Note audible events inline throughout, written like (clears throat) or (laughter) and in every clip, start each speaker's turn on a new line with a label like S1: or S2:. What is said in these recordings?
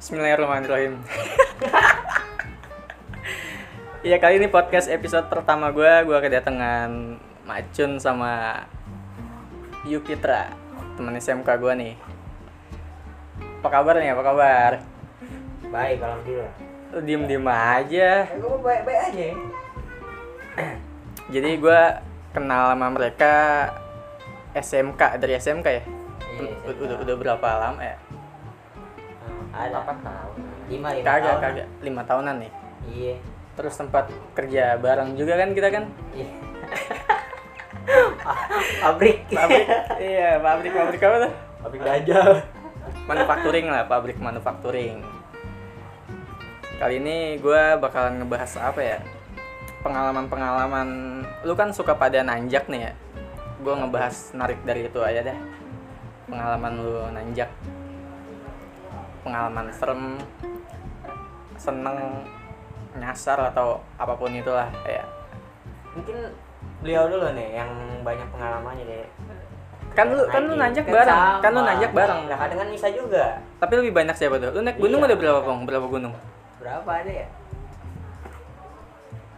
S1: Bismillahirrahmanirrahim. (laughs) Iya kali ini podcast episode pertama gue, gue kedatangan Macun sama Yukitra, teman SMK gue nih. Apa kabar nih? Apa kabar?
S2: Baik, alhamdulillah.
S1: Lu diem diem aja.
S2: Eh, gue baik-baik aja ya.
S1: Jadi gue kenal sama mereka SMK dari SMK ya.
S2: Iya,
S1: U- Udah, udah berapa lama ya?
S2: Ada. 8 tahun. 5, 5
S1: Kagak kagak lima tahunan nih.
S2: Iya.
S1: Terus tempat kerja bareng juga kan kita kan?
S2: Iya. (laughs) pabrik.
S1: pabrik iya pabrik pabrik apa tuh
S2: Pabrik aja.
S1: manufacturing lah pabrik manufacturing kali ini gue bakalan ngebahas apa ya pengalaman pengalaman lu kan suka pada nanjak nih ya gue ngebahas narik dari itu aja deh pengalaman lu nanjak pengalaman serem seneng nyasar atau apapun itulah ya
S2: Mungkin beliau dulu nih yang banyak pengalamannya deh.
S1: kan lu kan lu
S2: Naik.
S1: nanjak bareng kan lu
S2: sama.
S1: nanjak bareng
S2: Nah, kadang kan bisa juga.
S1: tapi lebih banyak siapa tuh lu naik gunung
S2: Iya.
S1: ada berapa bang berapa gunung
S2: Berapa ada ya?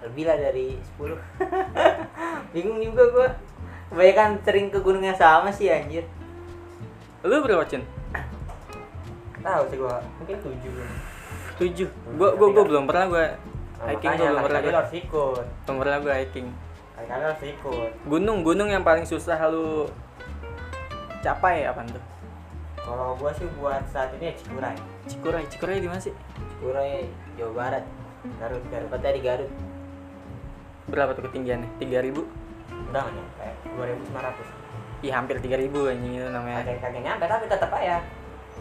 S2: Lebih lah dari 10. (laughs) Bingung juga gua. Kebanyakan sering ke gunung yang sama sih anjir.
S1: Lu berapa, Cin?
S2: Tahu sih gua, mungkin 7.
S1: 7. Gua gua gua belum pernah gua
S2: Nah,
S1: hiking gua
S2: makanya
S1: belum pernah
S2: kali-kali
S1: gua.
S2: harus ikut
S1: Belum pernah gua hiking.
S2: kali-kali harus ikut
S1: Gunung-gunung yang paling susah lu capai apaan tuh?
S2: kalau gua sih buat saat ini ya Cikuray
S1: Cikuray, Cikuray di mana sih?
S2: Cikuray Jawa Barat Garut Garut Tepatnya di Garut
S1: Berapa tuh ketinggiannya? 3000?
S2: udah nggak nyampe dua ribu sembilan ratus
S1: Ih, hampir 3000 anjing itu namanya.
S2: kagak kagak nyampe tapi tetap aja Eh.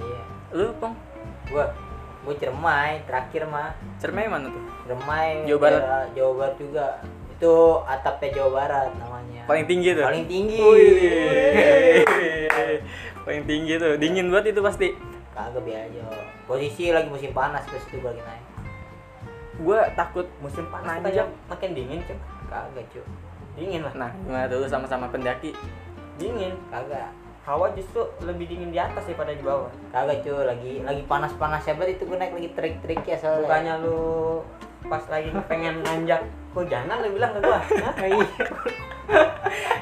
S2: iya
S1: Lu, Pong,
S2: gua gua Cermai terakhir mah
S1: cermai mana tuh?
S2: Cermai
S1: Jawa Barat.
S2: daerah Jawa Barat juga itu atapnya Jawa Barat namanya
S1: Paling tinggi tuh.
S2: Paling tinggi
S1: Wih. Paling tinggi tuh. Dingin banget itu pasti.
S2: kagak biar aja posisi lagi musim panas terus itu gua lagi naik
S1: Gua takut
S2: musim
S1: panas aja.
S2: aja makin dingin cuy kagak cuy dingin lah
S1: Nah, gimana tuh lu sama-sama pendaki?
S2: dingin kagak hawa justru lebih dingin di atas daripada di bawah kagak cuy lagi lagi panas panas hebat itu gue naik lagi trik trik ya soalnya bukannya lu pas lagi pengen nanjak kok jangan lu bilang ke
S3: (laughs)
S2: gua Hah?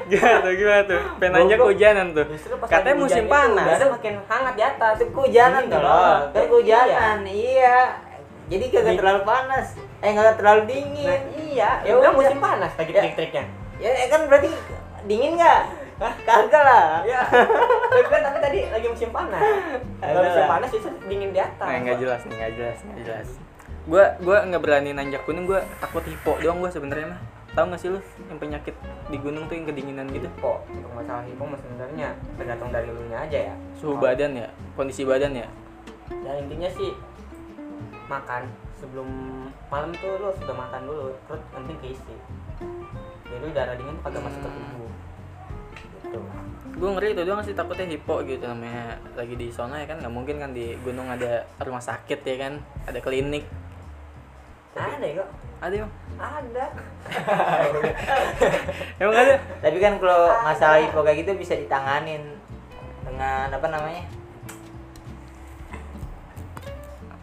S1: Gimana tuh? Gimana tuh? Penanya
S2: Gua- gua-
S1: kehujanan tuh.
S2: justru pas
S1: Katanya
S2: lagi
S1: musim
S2: hujan gitu, itu,
S1: panas. Eh,
S2: udara makin hangat di atas itu kehujanan
S3: Dingin
S2: tuh
S3: loh.
S2: loh kan kehujanan iya jadi kagak terlalu panas eh kagak terlalu dingin iya ya udah musim panas
S3: lagi
S2: Ya.
S3: trik-triknya
S2: ya eh, kan berarti dingin nggak kagak lah (laughs)
S3: ya tapi kan tapi tadi lagi musim panas kalau
S2: Ada
S3: musim
S2: lah.
S3: panas itu dingin di atas
S1: Nah, nggak jelas nih, nggak jelas, nggak jelas. Gua gua nggak berani nanjak gunung, gua takut hipo doang gua sebenarnya mah. Tahu nggak sih lu yang penyakit di gunung tuh yang kedinginan gitu?
S3: kok untuk masalah hipo mah sebenarnya tergantung dari lu aja ya
S1: Suhu badan ya, kondisi badan ya.
S3: dan intinya sih makan sebelum malam tuh lu sudah makan dulu perut yang penting keisi jadi darah dingin tuh kagak masuk ke
S1: Hmm.
S3: tubuh gitu
S1: Gua ngeri itu doang sih takutnya hipo gitu namanya lagi di sana ya kan nggak mungkin kan di gunung ada rumah sakit ya kan, ada klinik.
S3: ada ya kok
S1: Ada emang?
S3: ada
S1: Emang ada?
S2: Tapi kan kalau masalah hipo kayak gitu bisa ditanganin dengan apa namanya?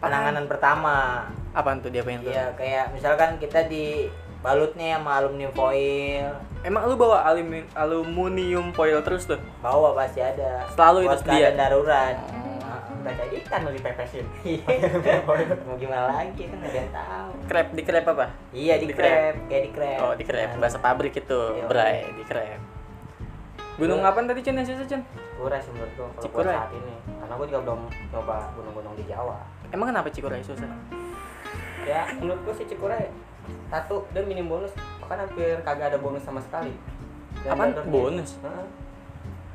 S2: Penanganan pertama.
S1: Apaan tuh dia pengen tuh?
S2: Iya, kayak misalkan kita di balutnya sama aluminium foil,
S1: Emang lu bawa alumi- aluminium foil terus tuh?
S2: bawa pasti ada.
S1: Selalu itu
S2: Buat
S1: sedia.
S2: keadaan darurat. Nah,
S3: baca
S2: kan
S3: ikan lu dipepesin
S2: Heeh. Mau gimana lagi kan nggak ada yang tahu.
S1: Krep di krep apa?
S2: Iya di
S1: Di crab.
S2: krep, kayak di krep.
S1: Oh, di krep. Bahasa pabrik itu,
S2: Iya.
S1: bray, di krep. Gunung
S3: Gua-
S1: apaan tadi Cun yang susah Cun?
S3: Cikuray sih menurut gua kalau buat
S1: Cikuray.
S3: saat ini karena gua juga belum coba gunung-gunung di Jawa
S1: Emang kenapa Cikuray susah?
S3: ya menurut gue sih Cikuray satu dia minim bonus bahkan hampir kagak ada bonus sama sekali
S1: Apaan?
S3: jalurnya-
S1: Bonus? Iya.
S3: Heeh.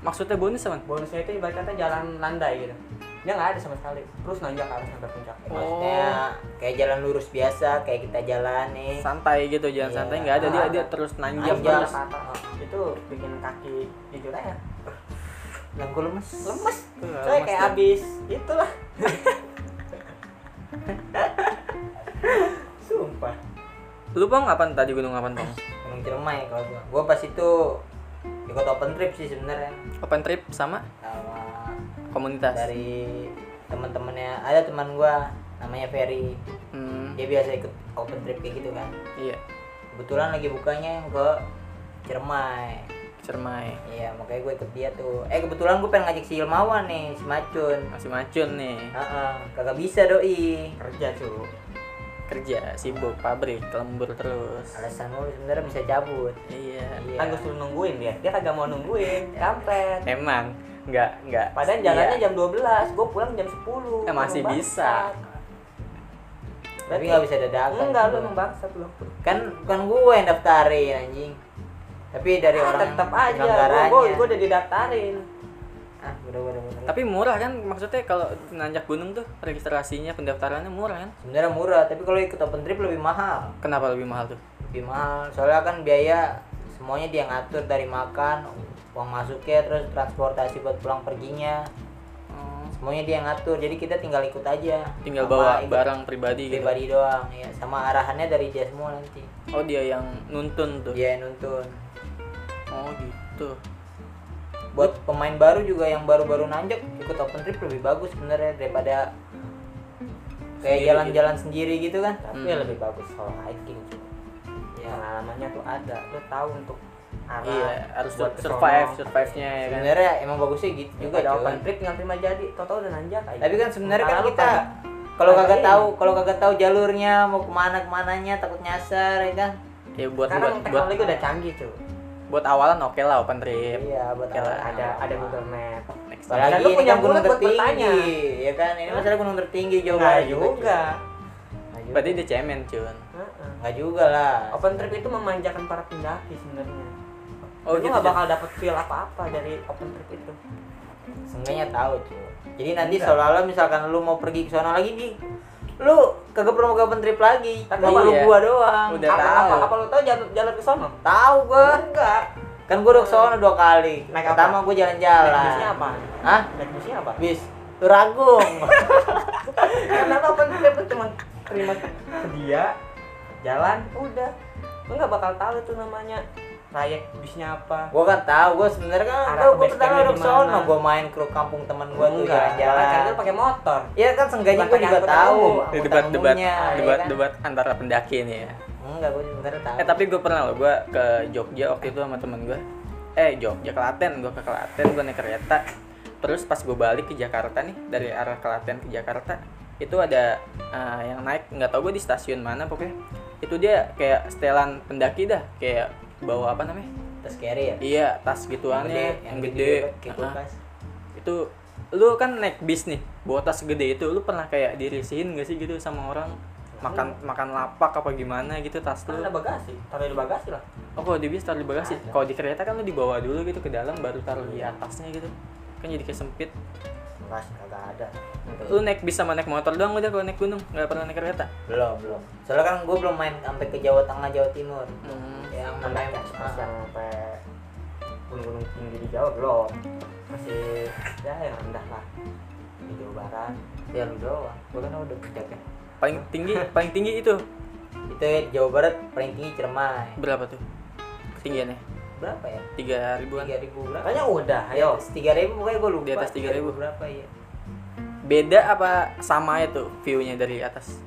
S1: Maksudnya bonus apa?
S3: bonusnya itu ibarat kata jalan landai gitu dia nggak ada sama sekali terus nanjak harus sampai puncak
S2: Oh, Maksudnya
S3: Ya.
S2: kayak jalan lurus biasa, kayak kita jalan nih.
S1: Santai gitu, jalan
S2: Iya.
S1: santai nggak ada dia
S3: Ah,
S1: dia
S3: ada.
S1: terus nanjak
S3: nanjak
S1: terus.
S3: terus Oh, itu bikin kaki jujur aja
S2: Yang gue lemes.
S3: lemes
S1: Iya,
S3: saya
S1: lemes
S3: kayak
S1: tuh.
S3: abis itulah sumpah
S1: Lu bang apaan tadi gunung apaan bang?
S2: Gunung Ciremai ya kalau gua. Gua pas itu ikut open trip sih sebenarnya
S1: Open trip sama
S2: sama
S1: komunitas.
S2: dari teman-temannya ada teman gua namanya Ferry
S1: Hmm,
S2: dia biasa ikut open trip kayak gitu kan
S1: iya,
S2: kebetulan lagi bukanya ke Ciremai
S1: cermai.
S2: iya makanya gue ikut dia tuh eh kebetulan gue pengen ngajak si Ilmawan nih si Macun
S1: Masih macun nih,
S2: Heeh, kagak bisa doi
S3: kerja cu
S1: kerja, sibuk, pabrik, lembur terus.
S2: alasan lu sebenarnya bisa cabut
S1: Iya.
S2: iya
S3: kan gue suruh nungguin dia dia kagak mau nungguin kampret
S1: Emang nggak nggak.
S3: padahal
S1: iya.
S3: jalannya jam 12 gue pulang jam 10
S1: Eh, masih
S3: Emang
S1: bisa.
S3: bangsat.
S2: tapi nggak bisa dadakan
S3: enggak lu emang bangsat lu
S2: kan bukan gue yang daftarin anjing tapi dari
S3: Ah,
S2: orang
S3: tetep aja
S2: anggarannya.
S3: gue gue udah didaftarin
S2: ah udah udah udah
S1: Tapi murah kan maksudnya kalau nanjak gunung tuh registrasinya pendaftarannya murah kan?
S2: sebenarnya murah tapi kalau ikut open trip lebih mahal
S1: Kenapa lebih mahal tuh?
S2: lebih mahal soalnya kan biaya semuanya dia ngatur dari makan uang masuknya terus transportasi buat pulang perginya
S3: Hmm.
S1: Oh,
S2: semuanya dia ngatur jadi kita tinggal ikut aja
S1: tinggal
S2: Sama
S1: bawa
S2: ikut
S1: barang pribadi gitu.
S2: pribadi doang ya sama arahannya dari dia semua nanti
S1: Oh dia yang nuntun
S3: Iya.
S1: tuh.
S2: dia yang nuntun
S1: Oh gitu.
S2: buat pemain baru juga yang baru-baru nanjak ikut open trip lebih bagus sebenarnya daripada kayak
S1: Sendiri
S2: jalan-jalan sendiri gitu kan
S3: tapi
S1: Hmm.
S3: ya lebih bagus kalau hiking cu
S2: ya
S3: pengalamannya tuh ada lu tahu untuk arah
S1: Iya, harus
S3: buat Iya.
S1: sur- survive,
S3: kesono.
S1: survive-nya ya kan.
S2: sebenarnya emang bagusnya gitu juga
S3: juga ada
S2: cuy.
S3: open trip nggak terima jadi tau-tau udah nanjak aja
S2: tapi kan sebenarnya kan
S3: Malah lu
S2: kita
S3: kagak-
S2: kalau kagak
S3: kagak
S2: tahu kalau kagak tahu jalurnya mau kemana kemananya takut nyasar ya kan
S1: Ya buat
S3: sekarang
S1: buat buat,
S3: teknologi udah canggih tuh
S1: buat awalan oke lah open trip.
S2: iya buat
S1: Oke lah,
S2: awal.
S3: ada ada Google Map
S1: Next time.
S2: apalagi
S3: Dan lu
S2: ini
S3: punya
S2: kan gunung
S3: mulut buat
S2: tertinggi
S3: bertanya.
S2: ya kan ini masalah gunung tertinggi Jawa
S3: Nggak
S2: Barat juga,
S3: juga
S2: cuy. Nggak
S1: Berarti
S2: juga.
S1: dia cemen cun.
S3: Heeh.
S2: nggak juga lah
S3: Nah, open trip itu memanjakan para pendaki sebenarnya
S1: Oh
S3: lu
S1: gitu.
S3: nggak
S1: Cun.
S3: bakal dapet feel apa-apa dari open trip itu
S2: seenggaknya tahu cuy jadi
S3: Iya.
S2: nanti seolah-olah misalkan lu mau pergi ke sana lagi nih lu kagak perlu mau open trip lagi
S3: Kan
S2: Cuma lu
S1: iya.
S2: gua doang
S1: Udah
S3: apa,
S1: tahu.
S3: apa, apa lu tau jalur, jalur ke sono?
S2: tahu gua
S3: enggak
S2: kan gua udah ke sana dua kali
S3: Oh. Naik apa?
S2: pertama gua
S3: naik
S2: jalan-jalan
S3: busnya apa?
S2: Hah?
S3: naik busnya apa?
S2: bis
S3: (laughs)
S2: Turagung
S3: kenapa open trip lu cuma terima sedia jalan udah lu nggak bakal tahu tuh namanya trayek bisnya apa
S2: gua kan tahu gua sebenarnya kan
S3: Arah
S2: tahu
S3: ke
S2: gua
S3: base
S2: pertama
S3: campnya
S2: udah
S3: di
S2: sono
S3: mana.
S2: gua main ke kampung teman gua tuh
S3: Enggak, kan lu
S2: jalan-jalan
S3: pakai motor
S2: Iya kan seenggaknya gua
S3: Bukan pakai
S2: juga
S3: angkutan
S2: tahu
S3: umum.
S1: Ini
S2: angkutan
S1: debat-debat
S2: umumnya,
S3: iya
S2: ya kan?
S1: debat-debat antara pendaki nih ya.
S2: enggak gua sebenarnya tahu
S1: Eh tapi gue pernah loh gue ke Jogja waktu itu sama temen gue. Eh Jogja Klaten gue ke Klaten gue naik kereta. Terus pas gue balik ke Jakarta nih dari arah Klaten ke Jakarta itu ada eh, yang naik nggak tau gue di stasiun mana pokoknya itu dia kayak setelan pendaki dah kayak bawa apa namanya
S2: terus carry ya
S1: iya tas gituannya
S2: Gede,
S1: yang
S2: gede
S1: gede,
S2: kayak
S1: Ah,
S2: kulkas
S1: itu lu kan naik bis nih bawa tas gede itu lu pernah kayak dirisihin gak sih gitu sama orang makan makan lapak apa gimana gitu tas
S3: kan
S1: lu
S3: ada bagasi taruh di bagasi lah
S1: Oh kalau di bis taruh di bagasi, kalau di kereta kan lu dibawa dulu gitu ke dalam baru taruh di atasnya gitu kan jadi kesempit
S2: enggak sih, kagak ada
S1: lu naik bis sama naik motor doang udah kalau naik gunung nggak pernah naik kereta
S2: belum belum soalnya kan gua belum main sampai ke Jawa Tengah Jawa Timur
S1: hmm.
S2: yang
S3: sampai
S2: namanya
S3: pas yang sampai gunung-gunung tinggi di Jawa belum masih ya yang rendah lah di Jawa Barat
S2: ya lu doang gua kan udah kerja kan
S1: paling
S2: (laughs)
S1: tinggi paling tinggi itu
S2: itu ya, di Jawa Barat paling tinggi Ciremai
S1: berapa tuh ketinggiannya
S2: berapa ya
S1: tiga ribuan
S2: tiga ribu berapa
S3: makanya udah
S2: ya
S3: ayo
S2: tiga ribu pokoknya gua lupa
S1: Di atas 3.000.
S2: berapa ya
S1: beda apa sama itu viewnya dari atas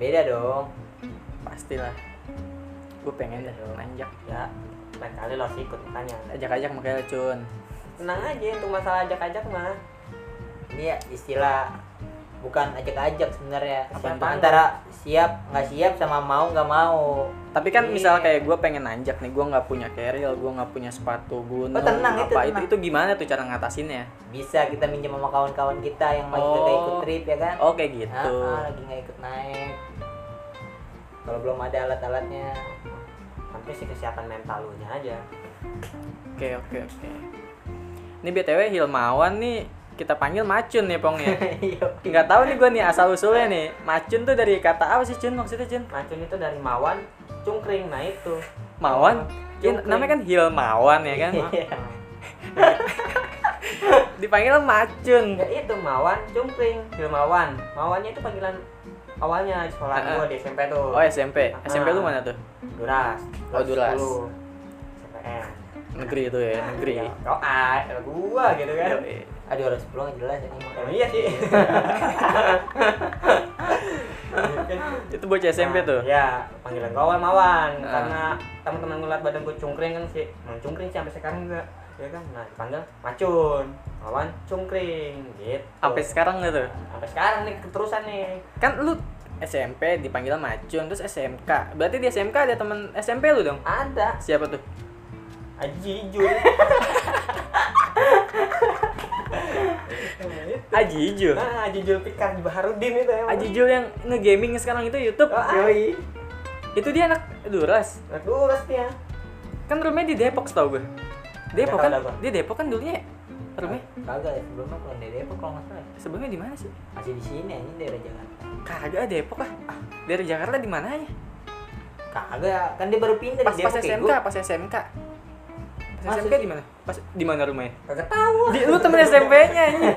S2: beda dong
S1: pastilah gue pengen deh nanjak
S3: ya lain kali lo harus ikut makanya
S1: ajak-ajak makanya cun
S3: tenang aja untuk masalah ajak-ajak mah
S2: ini ya istilah bukan ajak-ajak sebenarnya
S3: Apa
S2: Siapa
S3: apaan?
S2: antara siap nggak siap sama mau nggak mau
S1: tapi kan
S2: Iya.
S1: misal kayak gue pengen nanjak nih gue nggak punya keril gue nggak punya sepatu gunung
S2: Oh, tenang, itu
S1: apa
S2: tenang.
S1: itu gimana tuh cara ngatasinnya
S2: bisa kita minjem sama kawan-kawan kita yang lagi
S1: Oh.
S2: kagak ikut trip ya kan
S1: oke gitu
S2: Ah, ah, lagi nggak ikut naik kalau belum ada alat-alatnya
S3: tapi sih kesiapan mental lu nya aja
S1: Oke oke oke. Ini btw Hilmawan nih kita panggil Macun nih
S3: (laughs)
S1: pongnya.
S2: Iya.
S1: Nggak tahu nih gue nih asal usulnya nih. Macun tuh dari kata apa sih Cun maksudnya Cun?
S3: macun itu dari mawan cungkring nah itu Iya,
S1: Mawan. Ya,
S3: Cungkring.
S1: namanya kan Hilmawan ya
S3: Iya.
S1: kan. Dipanggil Macun.
S3: ya itu mawan cungkring hilmawan mawannya itu panggilan awalnya di sekolah
S1: Ah, ah.
S3: gua di SMP tuh
S1: Oh SMP.
S3: Ah.
S1: SMP lu mana tuh?
S3: duras
S1: Oh, Duras.
S3: 10. SPM
S1: Negeri Iya, itu ya negeri.
S3: Iya. Ya, kau ah, gua gitu kan
S1: Yoi.
S2: ah 210 nggak jelas ini
S3: Emang iya
S1: (laughs)
S3: sih.
S1: Itu bocah SMP tuh.
S3: Ya, panggilan kawan Mawan
S1: Ah.
S3: karena teman-teman ngeliat badan gue cungkring kan sih. Emang cungkring sih sampai sekarang juga. Ya kan, nah dipanggil Macun, Mawan cungkring gitu.
S1: Sampai sekarang gitu.
S3: Sampai sekarang nih keterusan nih.
S1: Kan lu SMP dipanggil Macun terus SMK. Berarti di SMK ada temen SMP lu dong.
S3: Ada
S1: Siapa tuh?
S3: Aji
S1: (laughs)
S3: Jun.
S1: Aji Ijul.
S3: Nah, Aji Jul Pikar di Baharudin itu emang.
S1: Aji Ijul yang nge-gaming sekarang itu YouTube.
S3: Oh, Yoi.
S1: Itu dia anak Duras.
S3: Nah, lurus dia.
S1: Kan rumahnya di Depok setahu gue. Depok
S3: Nggak tahu
S1: kan?
S3: dah gua.
S1: Dia Depok kan dulunya ya? Rumahnya
S2: kagak ya sebelumnya kalau dari Depok kalau nggak salah ya.
S1: sebelumnya di mana sih?
S2: masih di sini aja daerah Jakarta
S1: Kagak Depok ah. Ah, Dari Jakarta di mananya?
S2: kagak kan dia baru pindah
S1: Pas
S2: di
S1: pas
S2: Depok ya,
S1: SMK,
S2: gua.
S1: pas SMK. Pas
S2: Masuk
S1: SMK di mana? Pas di mana rumahnya?
S3: Kagak tahu.
S1: Di lu temen SMP-nya ini.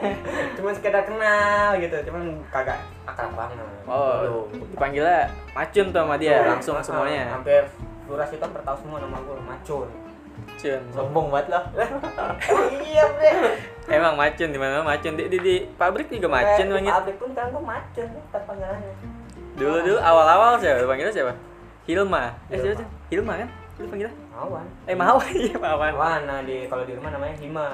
S3: Cuman sekedar kenal gitu, cuman kagak akrab banget.
S1: Oh,
S3: Belum.
S1: dipanggilnya Macun tuh sama dia
S3: Tuh,
S1: langsung
S3: ah,
S1: semuanya. ya?
S3: Hampir Luras itu hampir tahu semua nama gue Macun.
S1: Macun.
S2: sombong banget lah
S3: iya bre.
S1: Emang Macun di mana Macun di, di, di pabrik juga Macun
S3: Eh, di
S1: banget.
S3: Pabrik pun kan gue Macun tetap panggilannya.
S1: Dulu dulu awal-awal siapa panggilnya siapa? Hilma. Eh siapa
S3: Hilma.
S1: sih? Hilma kan? Lu panggilnya?
S3: Awan.
S1: Eh Mawan (laughs) iya Mawan.
S3: Awan, nah di kalau di rumah namanya Hima.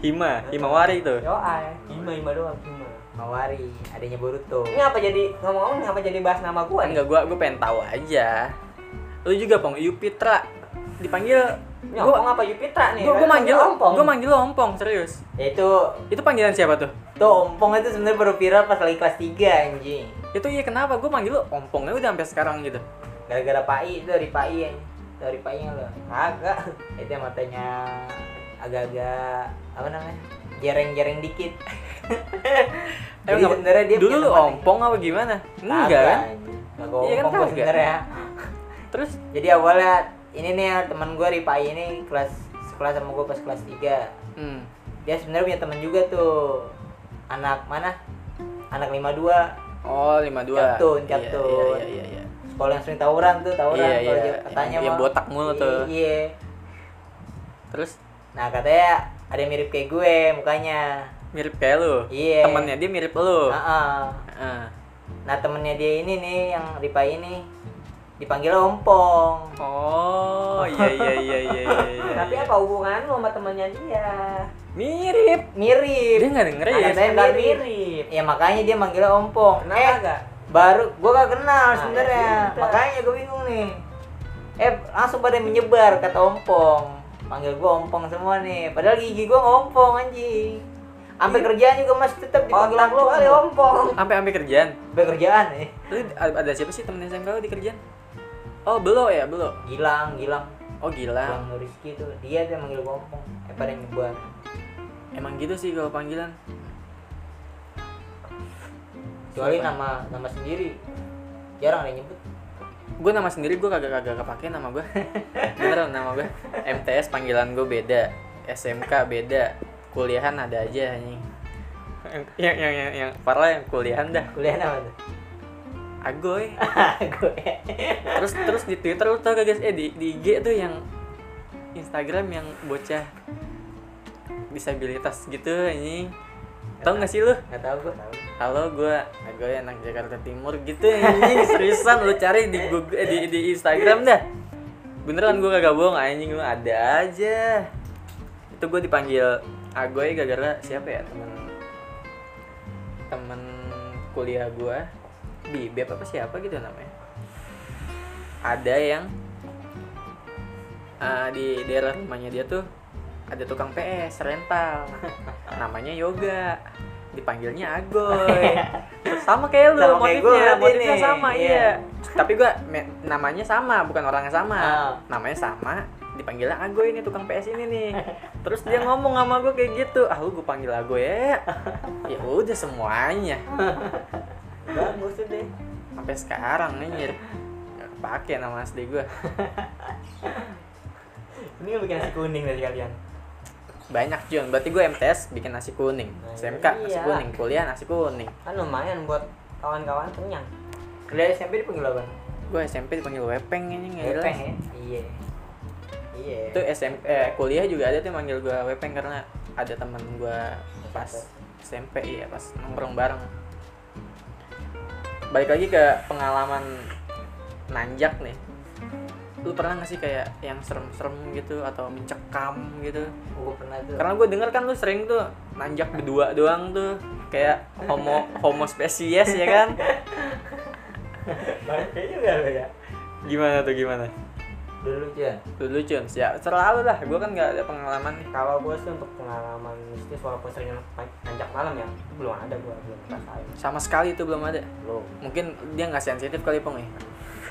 S1: Hima, Himawari itu.
S3: Yo ay, Hima Hima doang Hima.
S2: Mawari adanya Boruto
S3: Ini apa jadi ngomong-ngomong ngapa jadi bahas nama gue nih?
S1: Enggak gua gua pengen tahu aja. Lu juga Pong Yupitra dipanggil
S3: Nyompong
S1: gua
S3: apa Yupitra nih?
S1: gua, gua
S3: Kan
S1: manggil
S3: Ompong.
S1: gua manggil lu ompong serius.
S2: ya itu
S1: Itu panggilan siapa tuh?
S2: tuh ompong itu sebenarnya baru viral pas lagi kelas 3 anjing
S1: Itu iya kenapa gua manggil lu ompong udah sampai sekarang gitu.
S2: gara-gara Pai itu dari Pai anjing dari Pai nya lo
S3: Kagak.
S2: itu yang matanya agak-agak apa namanya jereng-jereng
S1: (laughs)
S2: dikit
S1: Emang Eh,
S2: Jadi
S1: apa-
S2: sebenarnya dia
S1: dulu
S2: punya
S1: lu
S2: teman.
S1: ompong apa gimana? Enggak kan?
S2: Gak
S1: Iya kan,
S2: ompong gue
S1: kagak.
S2: sebenernya
S1: Terus
S2: Jadi awalnya ini nih teman gue Ripai ini kelas sekelas sama gue pas kelas 3
S1: hmm,
S2: Dia sebenarnya punya teman juga tuh Anak mana? Anak 52
S1: oh 52.
S2: Captun,
S1: Iya,
S2: captun.
S1: Iya iya iya. iya.
S2: Sekolah yang sering tawuran tuh, tawuran
S1: Iya,
S2: kalau
S1: iya.
S2: dia katanya
S1: Yang- yang
S2: mah.
S1: botak mulu
S2: Iya,
S1: tuh.
S2: Iya
S1: Terus
S2: Nah katanya ada yang mirip kayak gue mukanya
S1: mirip kayak lu.
S2: Iya.
S1: Temennya dia mirip lu.
S2: Ah, ah.
S1: Heeh.
S2: Nah temennya dia ini nih yang Ripai ini Dipanggil ompong
S1: Oh, iya iya iya iya iya. iya,
S2: (laughs)
S3: Tapi
S1: iya.
S3: apa hubungan lu sama temannya dia?
S1: Mirip.
S2: Mirip
S1: Dia nggak dengerin ya.
S2: Ada yang
S3: Sekedar
S2: mirip.
S3: mirip.
S2: Ya makanya dia manggilnya ompong
S3: Kenapa
S2: Eh,
S3: kagak?
S2: baru gua gak kenal
S3: Nah,
S2: sebenarnya
S3: ya udah.
S2: makanya gua bingung nih eh langsung pada menyebar kata ompong panggil gua ompong semua nih padahal gigi gua ngompong anjing sampai kerjaan juga masih tetap dipanggil
S3: Iya. Otak lu
S2: ompong
S3: kali ompong.
S1: Sampai sampai kerjaan.
S2: sampai kerjaan eh. nih
S1: Lu ada ada siapa sih temen SMK lu di kerjaan? Oh, belum ya, belum.
S2: gilang gilang
S1: Oh, gila.
S2: gilang Rizky tuh dia tuh yang manggil gua ompong eh pada nyebar
S1: Emang gitu sih kalau panggilan.
S2: kecuali nama nama sendiri jarang ada yang nyebut
S1: gue nama sendiri gue kagak kagak kepake nama gue (laughs) beneran nama gue MTS panggilan gue beda SMK beda kuliahan ada aja anjing yang yang yang, yang parah yang kuliahan dah
S2: kuliah nama tuh (laughs)
S1: agoy
S2: gue
S1: terus terus di Twitter lu tau gak guys eh di, di IG tuh yang Instagram yang bocah disabilitas gitu anjing tau gak sih lu
S2: nggak tahu gua
S1: halo gue agoy anak Jakarta Timur gitu anjing seriusan lu cari di Google eh, di, di Instagram dah beneran gue kagak bohong anjing lu ada aja itu gue dipanggil agoy gara-gara siapa ya temen temen kuliah gue di BEP apa siapa gitu namanya ada yang eh, di daerah rumahnya dia tuh ada tukang PS rental (laughs) namanya Yoga dipanggilnya
S2: (laughs)
S1: Agoy sama kayak lu
S2: Sama kayak gua
S1: motifnya
S2: berarti
S1: motifnya
S2: nih,
S1: sama
S2: iya.
S1: iya tapi gua me- namanya sama bukan orangnya sama
S2: Ah.
S1: namanya sama dipanggilnya Agoy ini tukang PS ini nih terus dia ngomong sama gue kayak gitu ah lu gue panggil Agoy ya ya udah semuanya
S3: Bagus itu deh.
S1: sampai sekarang anjir Gak kepake nama asli gue
S3: Ini lu bikin nasi kuning dari kalian.
S1: banyak Jun berarti gue MTS bikin nasi kuning
S3: Nah,
S1: SMK nasi
S3: iya.
S1: kuning kuliah nasi kuning
S3: Kan lumayan buat kawan-kawan kenyang.
S2: kuliah SMP dipanggil apa
S1: gue SMP dipanggil Wepeng ini nggak jelas.
S2: Epeng ya iya iya
S1: itu SMP eh, kuliah juga ada tuh yang manggil gue Wepeng karena ada teman gua pas SMP ya pas nongkrong bareng balik lagi ke pengalaman nanjak nih lu pernah gak sih kayak yang serem-serem gitu atau mencekam gitu
S2: gue pernah tuh
S1: karena gue denger kan lu sering tuh nanjak berdua doang tuh kayak homo homo spesies ya kan
S2: bangke
S1: gitu
S2: juga lo ya
S1: gimana tuh gimana
S2: dulu Jan
S1: dulu Jun ya selalu lah gue kan nggak ada pengalaman nih
S3: kalau gue sih untuk pengalaman mistis walaupun sering nanjak malam ya belum ada gue belum ngerasain
S1: sama sekali itu belum ada
S2: belum
S1: mungkin dia nggak sensitif kali pong ya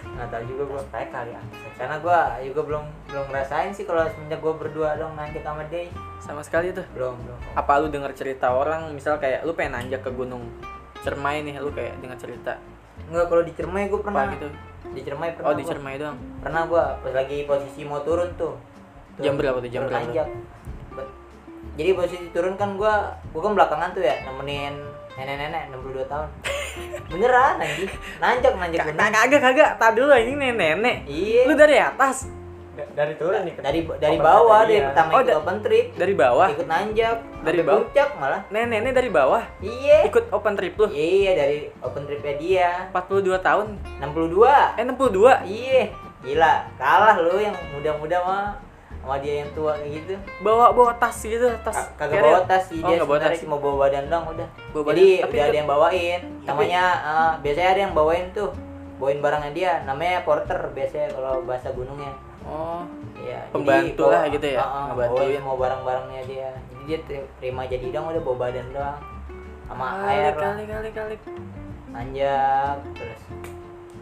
S2: nggak tahu juga gue
S3: prospek kali ya
S2: karena gue juga belum belum ngerasain sih kalau semenjak gue berdua dong nanjak sama Day
S1: sama sekali tuh
S2: belum belum
S1: apa lu denger cerita orang misal kayak lu pengen nanjak ke gunung Cermai nih lu kayak dengar cerita
S2: enggak kalau di Cermai gue pernah
S1: apa gitu
S2: di Cermai pernah
S1: oh di
S2: gua.
S1: Cermai doang
S2: pernah gue pas lagi posisi mau turun tuh Turun-
S1: Jam berapa tuh, jam
S2: turun
S1: berapa?
S2: nanjak. Ba- jadi posisi turun kan gue gue kan belakangan tuh ya nemenin nenek-nenek 62
S1: (laughs)
S2: tahun beneran anjing nanjak nanjak
S1: Kagak
S2: bener
S1: kagak kagak tak dulu ini nenek
S2: iya
S1: lu dari atas
S3: Da- dari turun nih
S2: dari dari bawah dari
S1: Oh,
S2: pertama ikut
S1: da-
S2: open trip
S1: dari bawah
S2: ikut nanjak
S1: Dari
S2: sampai
S1: bawah?
S2: puncak malah
S1: neneknya dari bawah
S2: iya
S1: ikut open trip lu
S2: iya dari open tripnya dia
S1: 42 tahun
S2: 62
S1: eh 62
S2: iya gila kalah lu yang muda-muda mah sama dia yang tua kayak gitu
S1: bawa bawa tas gitu tas
S2: Ka- kagak
S1: carrier.
S2: bawa tas sih
S1: Oh,
S2: dia
S1: nggak bawa
S2: sebenarnya
S1: tas.
S2: cuma bawa badan dong udah
S1: Bawa
S2: jadi
S1: badan, tapi
S2: udah
S1: itu-
S2: ada yang bawain namanya eh, biasanya ada yang bawain tuh bawain barangnya dia namanya porter biasanya kalau bahasa gunungnya
S1: oh
S2: Iya, jadi
S1: Pembantu
S2: bawa-
S1: lah gitu ya,
S2: Heeh,
S1: ngebantuin.
S2: bawain mau barang-barangnya dia jadi dia ter- terima jadi dong udah bawa badan doang sama
S1: kali
S2: air lah
S1: kali kali kali
S2: nanjak terus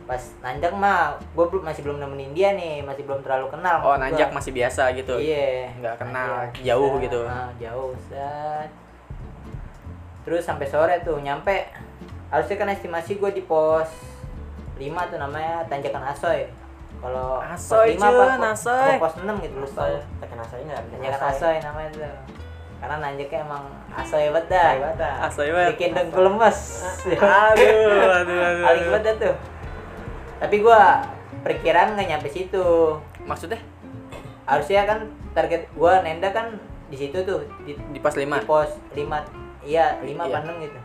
S2: pas nanjak mah gue masih belum nemenin dia nih masih belum terlalu kenal
S1: oh
S2: maksud gua.
S1: nanjak masih biasa gitu
S2: Iya.
S1: Nggak kenal,
S2: Nanjak.
S1: jauh
S2: Set,
S1: gitu.
S2: ah, jauh, set. Terus sampai sore tuh nyampe. Harusnya kan estimasi gue di pos 5 tuh namanya tanjakan Asoy. Kalau
S1: Asoy,
S2: pos 5 apa
S1: Jun,
S2: po-
S1: Asoy.
S2: apa pos 6 gitu lupa.
S3: Asal terkena saya nggak
S2: Tanjakan Asoy namanya tuh. Karena nanjaknya emang Asoy banget dah.
S1: asoy banget
S2: Bikin dengkul lemes.
S1: aduh aduh aduh,
S2: Paling
S1: aduh.
S2: banget dah tuh. Tapi gua perkiraan nggak nyampe situ
S1: maksudnya
S2: harusnya kan target gua nenda kan di situ tuh di,
S1: di pas
S2: di
S1: 5
S2: pos 5 iya 5
S1: Iya.
S2: apa 6 gitu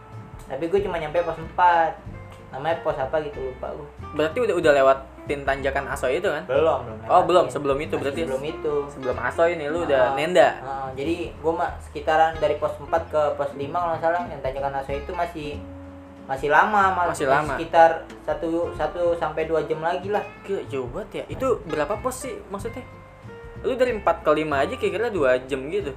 S2: tapi gue cuma nyampe pos 4 namanya pos apa gitu lupa gue
S1: berarti udah udah lewatin tanjakan asoy itu kan
S2: belum belum
S1: oh
S2: lewatin.
S1: belum sebelum itu
S2: Iya. Masih
S1: berarti
S2: sebelum itu
S1: sebelum asoy nih lu udah
S2: Ah,
S1: nenda
S2: ah, jadi gue mah sekitaran dari pos 4 ke pos 5 kalau nggak salah yang tanjakan aso itu masih masih lama mal-
S1: Masih lama.
S2: sekitar satu satu sampai dua jam lagi lah
S1: Gila jauh banget ya. Itu berapa pos sih maksudnya? Lu dari 4 ke 5 aja kira-kira 2 jam gitu.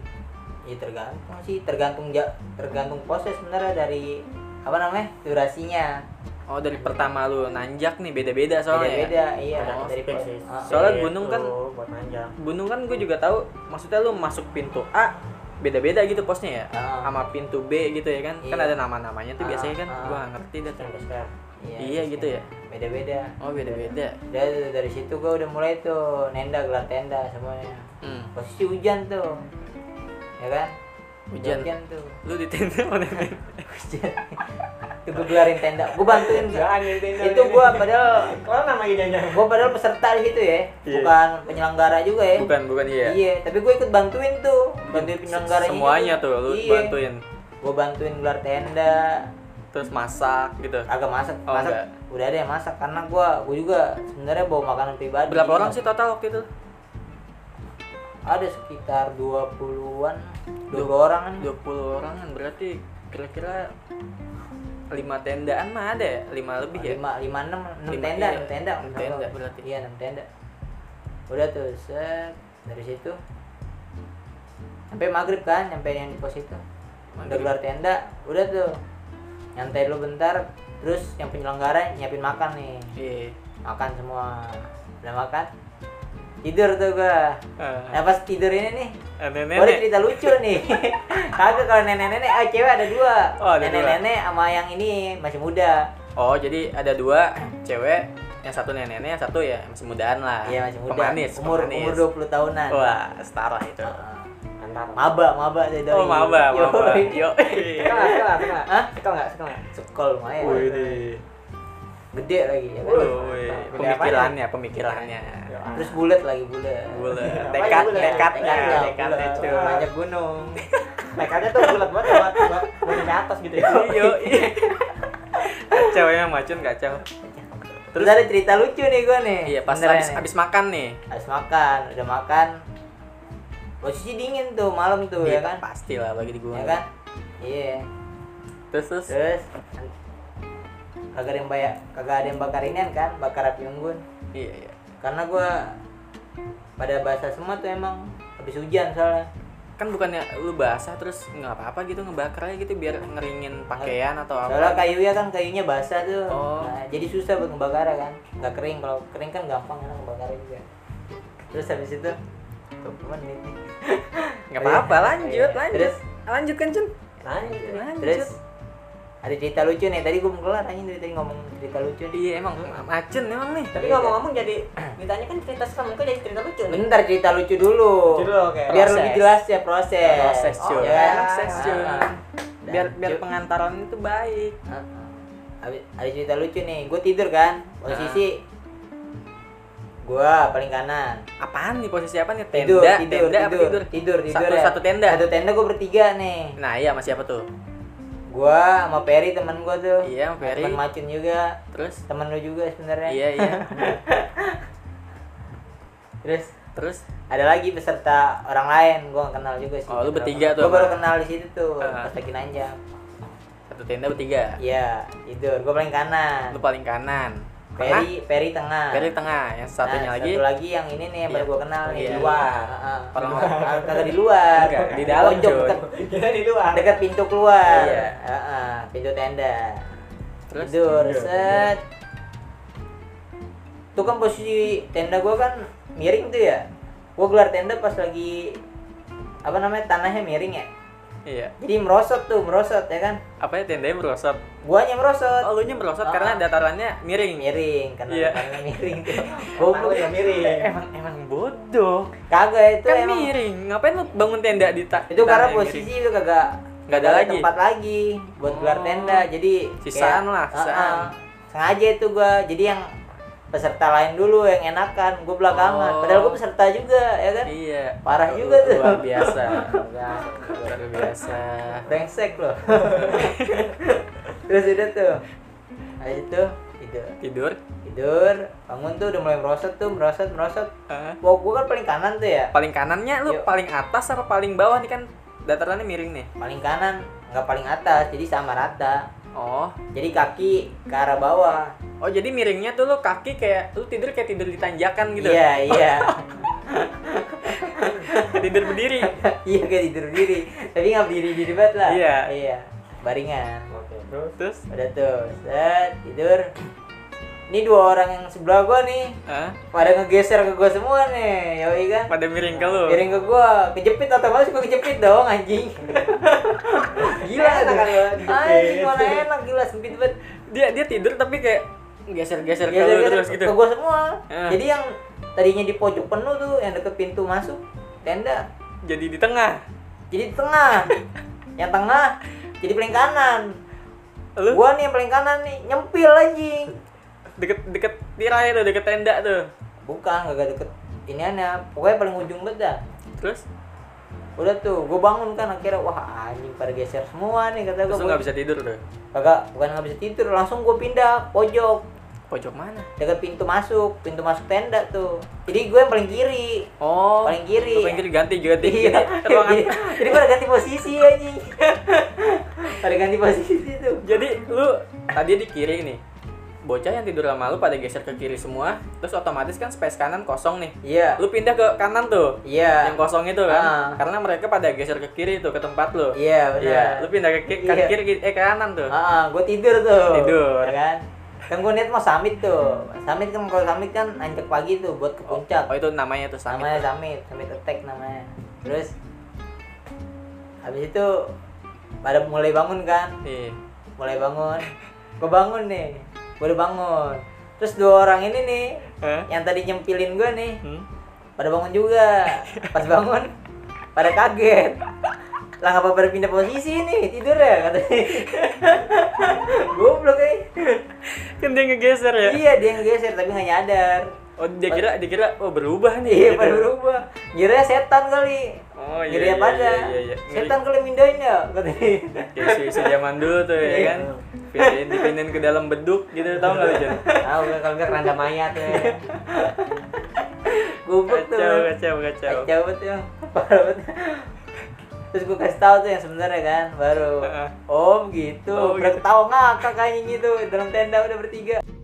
S2: ya tergantung sih tergantung ja- tergantung posnya sebenarnya dari apa namanya durasinya
S1: Oh, dari pertama lu nanjak nih beda-beda soalnya. ya.
S2: beda iya
S1: Oh,
S2: dari pos
S3: sih
S2: ah,
S1: Soalnya gunung kan-
S3: Iya, buat nanjak
S1: Gunung kan gue juga tahu, maksudnya lu masuk pintu A beda-beda gitu posnya ya.
S2: Ah.
S1: Sama pintu B gitu ya kan. Kan
S2: Iya.
S1: ada nama-namanya tuh
S2: Ah,
S1: biasanya kan
S2: ah.
S1: gua nggak ngerti dah. tuh.
S3: Sampai
S1: Iya gitu ya.
S2: beda beda
S1: Oh, beda-beda.
S2: dari dari situ gue udah mulai tuh nenda gelar tenda semuanya
S1: Hmm.
S2: posisi hujan tuh ya kan
S1: Hujan.
S2: tuh
S1: Lu di tenda mana nih?
S2: hujan (laughs) itu gue gelarin tenda gue bantuin
S3: Jangan di tenda
S2: itu
S3: ini.
S2: gue padahal
S3: kalau nama ini aja
S2: gue padahal peserta di situ ya
S1: Iya.
S2: bukan penyelenggara juga ya
S1: Bukan, bukan iya.
S2: iya tapi gue ikut bantuin tuh bantuin penyelenggara gitu. Iya.
S1: Semuanya tuh lu bantuin.
S2: gue bantuin gelar tenda
S1: Terus masak gitu.
S2: agak masak
S1: Oh,
S2: masak
S1: enggak.
S2: udah ada yang masak karena gua gua juga sebenarnya bawa makanan pribadi
S1: Berapa orang sih total waktu itu?
S2: ada sekitar 20-an 20 orang kan
S1: 20 orang kan berarti kira-kira 5 tendaan mah ada ya? 5 lebih ya?
S2: lima lima enam enam
S1: Lima,
S2: tenda
S1: iya.
S2: enam tenda
S1: Enam
S2: kenapa?
S1: tenda berarti.
S2: iya enam tenda udah tuh set dari situ sampai maghrib kan nyampe yang di pos itu udah
S1: Maghrib.
S2: keluar tenda udah tuh nyantai dulu bentar terus yang penyelenggara nyiapin makan nih
S1: Iya.
S2: makan semua udah makan tidur tuh gua nah pas tidur ini nih
S1: Eh,
S2: Nenek. Boleh
S1: nenek.
S2: cerita lucu
S1: (laughs)
S2: nih. Kagak kalau nenek-nenek ah cewek ada dua.
S1: Oh, ada
S2: nenek-nenek sama yang ini masih muda.
S1: Oh, jadi ada dua cewek, yang satu nenek-nenek, yang satu ya masih mudaan lah.
S2: Iya, masih muda.
S1: Pemanis,
S2: umur
S1: pemanis.
S2: umur 20 tahunan.
S1: Wah, setara itu.
S2: Heeh.
S3: antar
S2: Maba, maba dari
S1: Oh, maba,
S2: (laughs) Yo.
S1: maba. Yo.
S3: sekel nggak sekel nggak sekel nggak
S2: Hah?
S3: sekel nggak sekel nggak
S2: Sekol lumayan. Gede lagi ya kan.
S1: Wih, pemikirannya, pemikirannya.
S2: Terus bulat lagi bulat.
S1: Bulat.
S3: Apanya
S1: Tekad,
S3: bulat?
S1: tekadnya,
S2: Tekadnya,
S1: tekadnya
S2: bulat.
S1: cuy.
S2: Banyak gunung. Mereka (laughs) tuh bulat banget buat buat buat nyampe atas gitu ya.
S1: Iya. iya. kacau ya macun kacau.
S2: Terus ada cerita lucu nih gue nih.
S1: Iya pas
S2: Eh, Beneran ya?
S1: habis
S2: nih.
S1: habis makan nih.
S2: Habis makan, udah makan. Posisi dingin tuh malam tuh ya kan?
S1: Pasti lah Iya, bagi di gua.
S2: Ya kan? Iya.
S1: Terus terus.
S2: Terus kan kagak ada yang bayar, kagak ada yang bakar inian kan, bakar api unggun.
S1: Iya iya.
S2: Karena gua pada bahasa semua tuh emang habis hujan soalnya.
S1: Kan bukannya lu basah terus nggak apa-apa gitu ngebakar aja gitu biar ngeringin pakaian atau
S2: Soalnya
S1: apa.
S2: kayunya kan kayunya basah tuh.
S1: Oh.
S2: Nah, jadi susah buat ngebakar kan. Nggak kering kalau kering kan gampang kan ngebakar juga. Terus habis itu tuh menit nih.
S1: (laughs) Nggak apa-apa lanjut
S2: Iya.
S1: lanjut.
S2: Terus?
S1: Lanjut kan Cun.
S2: Lanjut.
S1: Lanjut.
S2: Terus ada cerita lucu nih. Tadi gua mau kelar anjing dari tadi ngomong cerita lucu nih.
S1: Iya emang macun emang nih.
S3: Tapi ngomong-ngomong (clears throat) jadi ditanya kan cerita serem kok jadi cerita lucu nih.
S2: Bentar cerita lucu dulu.
S3: Lucu dulu, oke.
S2: Biar
S1: Proses.
S2: lebih jelas ya proses.
S1: Proses cuy.
S2: Oh, ya kan?
S1: Proses cuy.
S2: Ah, ah. Dan
S1: Biar biar
S2: cu-
S1: pengantaran itu baik.
S2: ah, ah. Habis- Ada cerita lucu nih. Gue tidur kan.
S1: Ah.
S2: Posisi gua paling kanan.
S1: Apaan nih posisi apa nih?
S2: Tidur,
S1: Tenda,
S2: tidur,
S1: tenda apa
S2: tidur,
S1: tidur?
S2: tidur, tidur
S1: Satu-
S2: ya.
S1: satu tenda?
S2: Satu tenda gue bertiga nih.
S1: Nah, iya masih apa tuh?
S2: Gua sama Peri teman gua tuh.
S1: Iya, sama Peri.
S2: Teman Macun juga,
S1: Terus?
S2: teman lu juga sebenarnya.
S1: Iya, (laughs) iya.
S2: Terus
S1: Terus
S2: ada lagi peserta orang lain, gua gak kenal juga sih.
S1: Oh, lu bertiga tuh
S2: Gua baru
S1: sama-
S2: kenal di situ tuh,
S1: Ah.
S2: pas lagi nanjak.
S1: satu tenda bertiga.
S2: Iya, tidur. Gua paling kanan.
S1: Lu paling kanan. Tengah?
S2: Peri, Peri tengah.
S1: Peri tengah, yang satunya
S2: Nah,
S1: lagi.
S2: Satu lagi yang ini nih yang baru
S1: Iya.
S2: gua kenal nih
S1: Iya.
S2: di luar. (laughs)
S1: Orang-
S2: Heeh. Kagak di luar.
S1: Enggak, di dalam,
S2: Pojok (laughs)
S1: Jun.
S2: deket-
S3: Kita di luar.
S2: dekat pintu keluar
S1: Iya.
S2: Heeh, pintu tenda
S1: Terus?
S2: tidur
S3: Tidur.
S2: set tuh kan posisi tenda gua kan miring tuh ya gua gelar tenda pas lagi apa namanya tanahnya miring ya
S1: Iya.
S2: jadi merosot tuh merosot ya kan
S1: Apa ya tendanya merosot?
S2: guanya merosot
S1: Oh, lu nya merosot
S2: Ah.
S1: karena datarannya miring.
S2: miring karena
S1: Iya.
S2: tanahnya miring
S1: (laughs)
S2: tuh
S3: Goblok
S2: goblok
S3: ya
S1: Eh,
S3: miring.
S1: Emang emang bodoh.
S2: kagak itu
S1: kan
S2: emang
S1: miring. Ngapain lu bangun tenda di tak?
S2: itu karena posisi itu kagak
S1: Nggak ada lagi?
S2: tempat lagi buat gelar
S1: Oh.
S2: tenda jadi
S1: Sisaan lah,
S2: Ah,
S1: sisaan.
S2: ah. sengaja itu gua jadi yang peserta lain dulu yang enakan gua belakangan
S1: Oh.
S2: padahal gua peserta juga ya kan
S1: Iya.
S2: Parah juga tuh.
S1: Luar (laughs) biasa. Luar biasa.
S2: brengsek loh (laughs) terus itu tuh habis itu tidur
S1: Tidur.
S2: tidur bangun tuh udah mulai merosot tuh merosot merosot
S1: Ah.
S2: Wah, gua kan paling kanan tuh ya
S1: Paling kanannya lu
S2: Yuk.
S1: paling atas apa paling bawah nih kan datarannya miring nih.
S2: paling kanan nggak paling atas jadi sama rata
S1: Oh.
S2: jadi kaki ke arah bawah
S1: Oh, jadi miringnya tuh lu kaki kayak lu tidur kayak tidur di tanjakan gitu.
S2: iya iya (laughs)
S1: Kayak (laughs) tidur berdiri.
S2: iya kayak tidur diri tapi nggak berdiri diri banget lah
S1: Iya.
S2: iya baringan
S3: Oke, terus
S1: Terus
S2: udah tuh set tidur ini dua orang yang sebelah gua nih
S1: ah,
S2: pada ngegeser ke gua semua nih yoi kan
S1: (laughs) pada miring ke lu.
S2: miring ke gua kejepit otomatis gua kejepit dong
S1: (laughs)
S2: anjing gila
S3: Enak
S2: tuh
S3: kan lu, kejepit.
S2: anjing mana enak gila sempit banget
S1: Dia dia tidur tapi kayak geser-geser ke lu
S2: Geser-geser
S1: terus gitu.
S2: Iya, ke gua semua
S1: Eh.
S2: jadi yang tadinya di pojok penuh tuh yang deket pintu masuk tenda
S1: Jadi di tengah.
S2: jadi di tengah
S1: (laughs)
S2: yang tengah jadi paling kanan
S1: Lu
S2: gua nih yang paling kanan nih nyempil anjing
S1: deket deket tirai tuh deket tenda tuh.
S2: bukan gak deket ini aneh pokoknya paling ujung banget dah
S1: Terus
S2: udah tuh gua bangun kan akhirnya wah anjing pada geser semua nih kata
S1: terus lu
S2: gua
S1: nggak bisa tidur tuh.
S2: kagak bukan nggak bisa tidur langsung gua pindah pojok
S1: Pojok mana?
S2: dekat pintu masuk pintu masuk tenda tuh jadi gue yang paling kiri
S1: Oh,
S2: Paling kiri.
S1: Lu paling kiri ganti ganti.
S2: iya
S1: Jadi, (laughs) ruangan.
S2: jadi, jadi pada ganti posisi anjing pada ganti posisi tuh
S1: Jadi lu tadi di kiri nih. Bocah yang tidur lama lu pada geser ke kiri semua, terus otomatis kan space kanan kosong nih.
S2: iya
S1: Lu pindah ke kanan tuh.
S2: iya
S1: yang kosong itu kan
S2: Ah.
S1: karena mereka pada geser ke kiri tuh ke tempat lo
S2: iya benar
S1: lu pindah ke kiri, ke
S2: Iya.
S1: kiri eh ke kanan tuh
S2: Ah, gue tidur tuh.
S1: Tidur.
S2: Ya kan? Kan gue niat mau summit tuh. Summit kan kalau summit kan anjek pagi tuh buat ke puncak.
S1: oh itu namanya tuh summit
S2: namanya summit, summit attack namanya. Terus habis itu pada mulai bangun kan,
S1: Iya.
S2: mulai bangun. Gue bangun nih, gue udah bangun. Terus dua orang ini nih,
S1: Hah?
S2: yang tadi nyempilin gue nih,
S1: Hmm?
S2: pada bangun juga.
S1: (laughs)
S2: Pas bangun, pada kaget. Lah ngapa pada pindah posisi nih tidur ya katanya. (laughs) eh. Goblok eh.
S1: kan dia ngegeser ya Iya.
S2: Iya dia yang geser tapi nggak nyadar.
S1: Oh, dia kira dia kira oh berubah nih.
S2: Iya,
S1: gitu.
S2: pada berubah. Ngiranya setan kali.
S1: Oh, iya.
S2: Ngiranya
S1: iya,
S2: pada.
S1: Iya, iya.
S2: Setan kali mindahin ya, katanya.
S1: Kayak si, si zaman dulu tuh ya
S2: Iya.
S1: kan. Dipindahin, dipindahin ke dalam beduk gitu tau nggak lu Jon?
S2: Tahu nggak kalau nggak keranda mayat ya. Gubuk tuh.
S1: Kacau, kacau, kacau.
S2: Kacau banget ya. Parah banget. Terus gue kasih tahu tuh yang sebenarnya kan, baru
S1: Heeh.
S2: Om gitu,
S1: Oh,
S2: udah
S1: gitu.
S2: ketawa ngakak kayaknya gitu dalam tenda udah bertiga.